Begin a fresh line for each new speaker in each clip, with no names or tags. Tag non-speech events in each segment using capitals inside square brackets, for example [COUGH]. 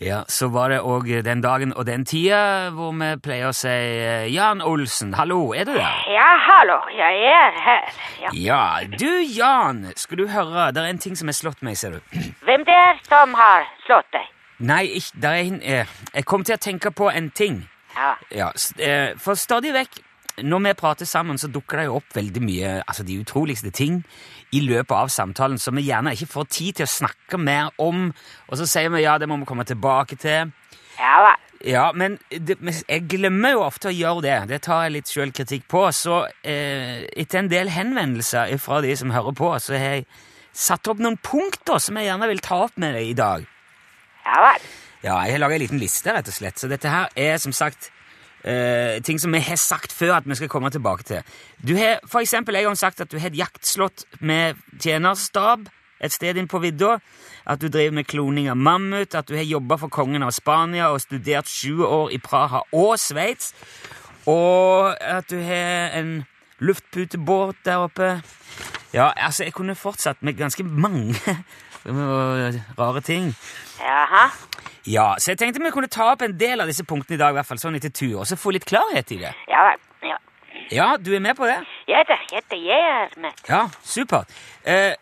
Ja, Så var det òg den dagen og den tida hvor vi pleier å si eh, Jan Olsen, hallo, er du der?
Ja, hallo, jeg er her. Ja.
Ja, du Jan, skal du høre, det er en ting som har slått meg, ser du.
Hvem det er som har slått deg?
Nei, ikk- der er, en- eh, jeg kom til å tenke på en ting.
Ja,
Ja, s- eh, For stadig vekk, når vi prater sammen, så dukker det jo opp veldig mye, altså de utroligste ting, i løpet av samtalen som vi gjerne ikke får tid til å snakke mer om, og så sier vi ja, det må vi komme tilbake til.
ja vel.
Ja, men det, men jeg glemmer jo ofte å gjøre det. Det tar jeg litt selvkritikk på. Så eh, etter en del henvendelser fra de som hører på, så har jeg satt opp noen punkter som jeg gjerne vil ta opp med deg i dag.
Ja vel.
Ja, jeg har laget en liten liste, rett og slett. Så dette her er som sagt eh, ting som vi har sagt før at vi skal komme tilbake til. Du har for eksempel en gang sagt at du har et jaktslott med tjenerstab et sted inn på vidda, at du driver med kloning av mammut, at du har jobba for kongen av Spania og studert sju år i Praha og Sveits, og at du har en luftputebåt der oppe. Ja, altså, jeg kunne fortsatt med ganske mange [LAUGHS] rare ting.
Jaha.
Ja, så jeg tenkte vi kunne ta opp en del av disse punktene i dag, i hvert fall sånn etter tur, og så få litt klarhet i det.
Ja vel. Ja.
Ja, du er med på det?
Jeg er jeg er- jeg er med.
Ja, supert. Eh,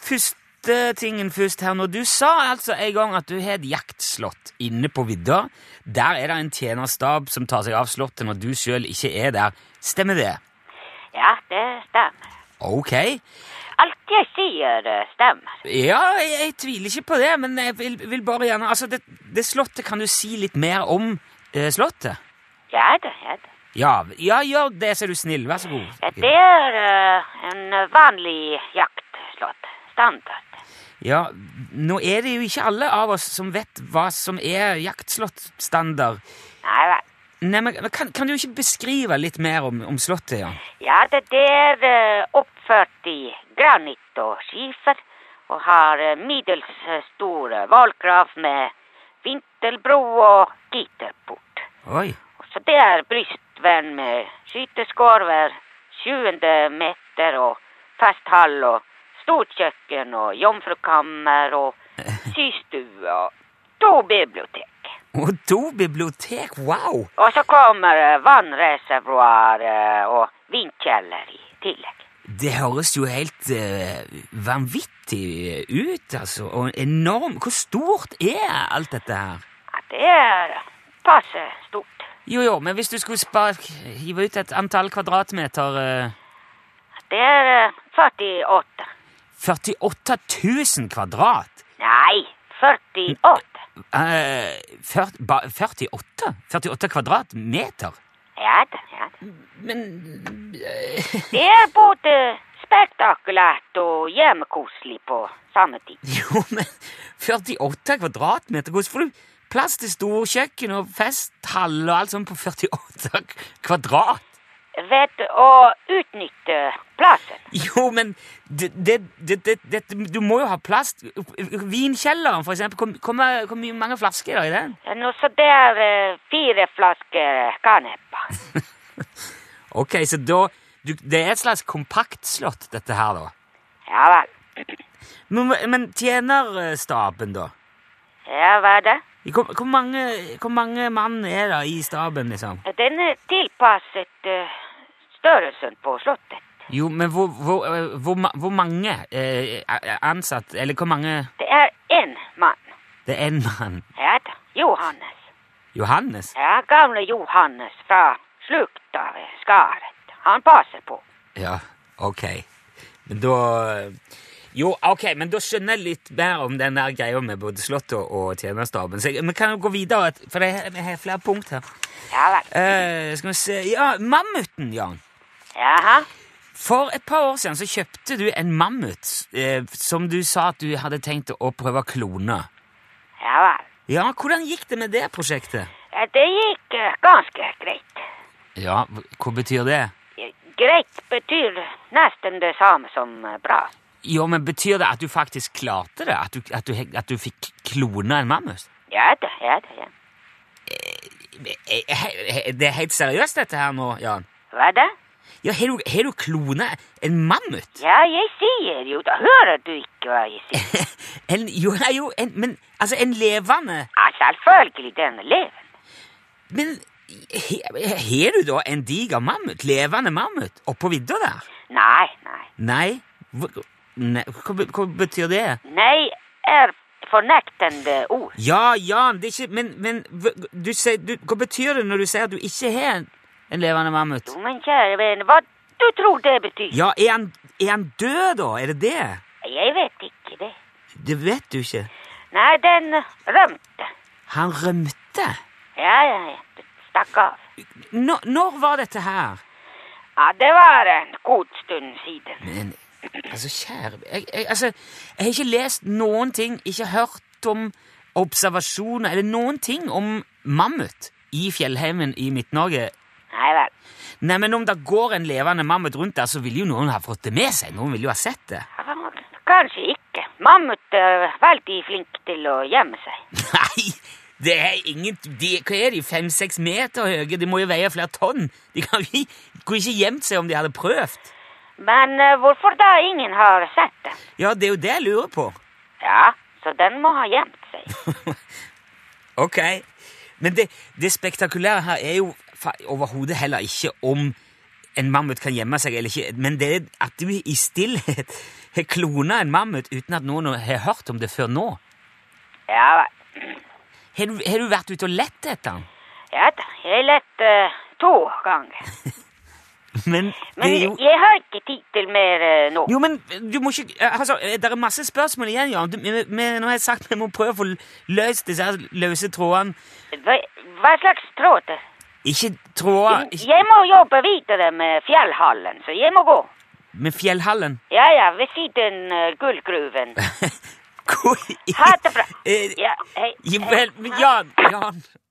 første tingen først her nå. Du sa altså en gang at du har et jaktslott inne på vidda. Der er det en tjenerstab som tar seg av slottet når du sjøl ikke er der. Stemmer det?
Ja, det stemmer.
Ok.
Alt jeg sier, eh, stemmer.
Ja, jeg, jeg tviler ikke på det, men jeg vil, vil bare gjerne Altså, det, det slottet, kan du si litt mer om eh, slottet?
Ja, det er det.
Ja, ja, gjør det, så er du snill. Vær så god.
Ja, Det er eh, en vanlig jaktslott. Standard.
Ja, nå er det jo ikke alle av oss som vet hva som er jaktslottstandard.
Nei vel.
Nei, men men kan, kan du ikke beskrive litt mer om, om slottet, ja?
Ja, det det er eh, oppført i granitt og skifer, og har eh, middels eh, stor eh, vollgrav med vinterbro og gitterport.
Oi.
Så det er brystvern med skyteskår hver 20. meter og fast hall og stort kjøkken og jomfrukammer og systue og to bibliotek.
Og to bibliotek, wow!
Og så kommer eh, vannreservoar eh, og vindkjeller i tillegg.
Det høres jo helt eh, vanvittig ut, altså. Og enorm Hvor stort er alt dette her?
Ja, det er passe stort.
Jo, jo, men hvis du skulle spark, hive ut et antall kvadratmeter eh,
Det er eh, 48.
48 000 kvadrat?
Nei, 48.
Eh, fyrt, ba, 48? 48 kvadratmeter?
Ja da, ja da.
Men eh,
Det er både spektakulært og hjemmekoselig på samme tid.
[LAUGHS] Jo, men 48 kvadratmeter? Hvordan får du plass til stor kjøkken og festhall og alt sånt på 48 kvadrat?
Ved å utnytte plassen.
Jo, men det, det, det, det, det- Du må jo ha plass. Vinkjelleren, for eksempel. Hvor, hvor, ma- hvor mye- mange flasker er det i den?
Nå, så det er eh, fire flasker kanepa.
Ok, så da du, Det er et slags kompaktslott, dette her, da.
Ja vel.
Men, men tjenerstaben, da?
Ja, hva er det?
Hvor, hvor, mange, hvor mange mann er det i staben, liksom?
Den er tilpasset eh, størrelsen på slottet.
Jo, men hvor, hvor, eh, hvor, ma- hvor mange eh, er- ansatt Eller hvor mange
Det er én mann.
Det er en mann.
Ja da, Johannes.
Johannes?
Ja, gamle Johannes fra slukta ved skaret. Han passer på.
Ja, ok. Men da Jo, ok, men da skjønner jeg litt mer om den der greia med både Slottet og tjenerstaben. Så jeg, men kan jo gå videre, et- for jeg, jeg har flere punkt her.
Ja vel.
Eh, skal vi se Ja, mammuten, Jan.
Jaha.
For et par år siden så kjøpte du en mammut eh, som du sa at du hadde tenkt å prøve å klone.
Ja vel.
Ja, hvordan gikk det med det prosjektet?
Ja, Det gikk eh, ganske greit.
Ja, hva betyr det?
Eh, Greit betyr nesten det samme som eh, bra.
Jo, men Betyr det at du faktisk klarte det? At du, at du, at du fikk klona en mammut?
Ja da, ja da, ja.
Eh, eh, eh, Det er helt seriøst, dette her nå, Jan.
Hva da?
Ja, Har du, har du klona en [LAUGHS] mammut?
Ja, jeg sier jo da. Hører du ikke hva jeg sier?
En, jo, nei, jo en, men altså, en levende
Ja, selvfølgelig den leven.
Men har du da en diger mammut? Levende mammut? Oppå vidda der?
Nei, nei.
Nei? Hva, nei hva, be- hva betyr det?
Nei er fornektende ord.
Ja, Jan, det er ikke Men, men hva- du sier, du, hva betyr det når du sier at du ikke har en, en levende mammut?
Jo, men kjære venn, hva du tror det betyr?
Ja, er han, er han død, da? Er det det?
Jeg vet ikke det.
Det vet du ikke.
Nei, den rømte.
Han rømte.
Ja, ja, ja. Stakk av.
Nå- når var dette her?
Ja, det var en god stund siden.
Men altså, kjære jeg, jeg, altså, jeg har ikke lest noen ting, ikke hørt om observasjoner eller noen ting om mammut i fjellheimen i Midt-Norge.
Nei vel.
Nei, men om det går en levende mammut rundt der, så vil jo noen ha fått det med seg. Noen vil jo ha sett det.
Ja, Kanskje ikke. Mammut er veldig flink til å gjemme seg.
Nei, det er ingen de, Hva er de, fem-seks meter høye? De må jo veie flere tonn. De kan jo ikke- kunne ikke gjemt seg om de hadde prøvd.
Men eh, hvorfor da ingen har sett den?
Ja, det er jo det jeg lurer på.
Ja, så den må ha gjemt seg.
Ok. Men det, det spektakulære her er jo fa- overhodet heller ikke om en mammut kan gjemme seg eller ikke, men det er at du i stillhet [LAUGHS] har klona en mammut uten at noen har hørt om det før nå.
Ja vel.
Har du, har du vært ute og lett etter den?
Ja da, jeg lette eh, to ganger.
Men det
Men
er
jeg,
jo
jeg har ikke tid til mer eh, nå.
Jo, men du må ikke altså, Det er masse spørsmål igjen, Jan. Du, vi, vi, nå har jeg sagt vi må prøve å få løst disse her løse trådene.
Hva, hva slags tråd det?
Ikke tråder ikke,
Jeg må jobbe videre med fjellhallen, så jeg må gå.
med fjellhallen.
Ja, ja, ved siden uh, gullgruven.
Hvor i
Ha det bra.
Eh,
Ja, hei.
Jo, vel, men Jan, Jan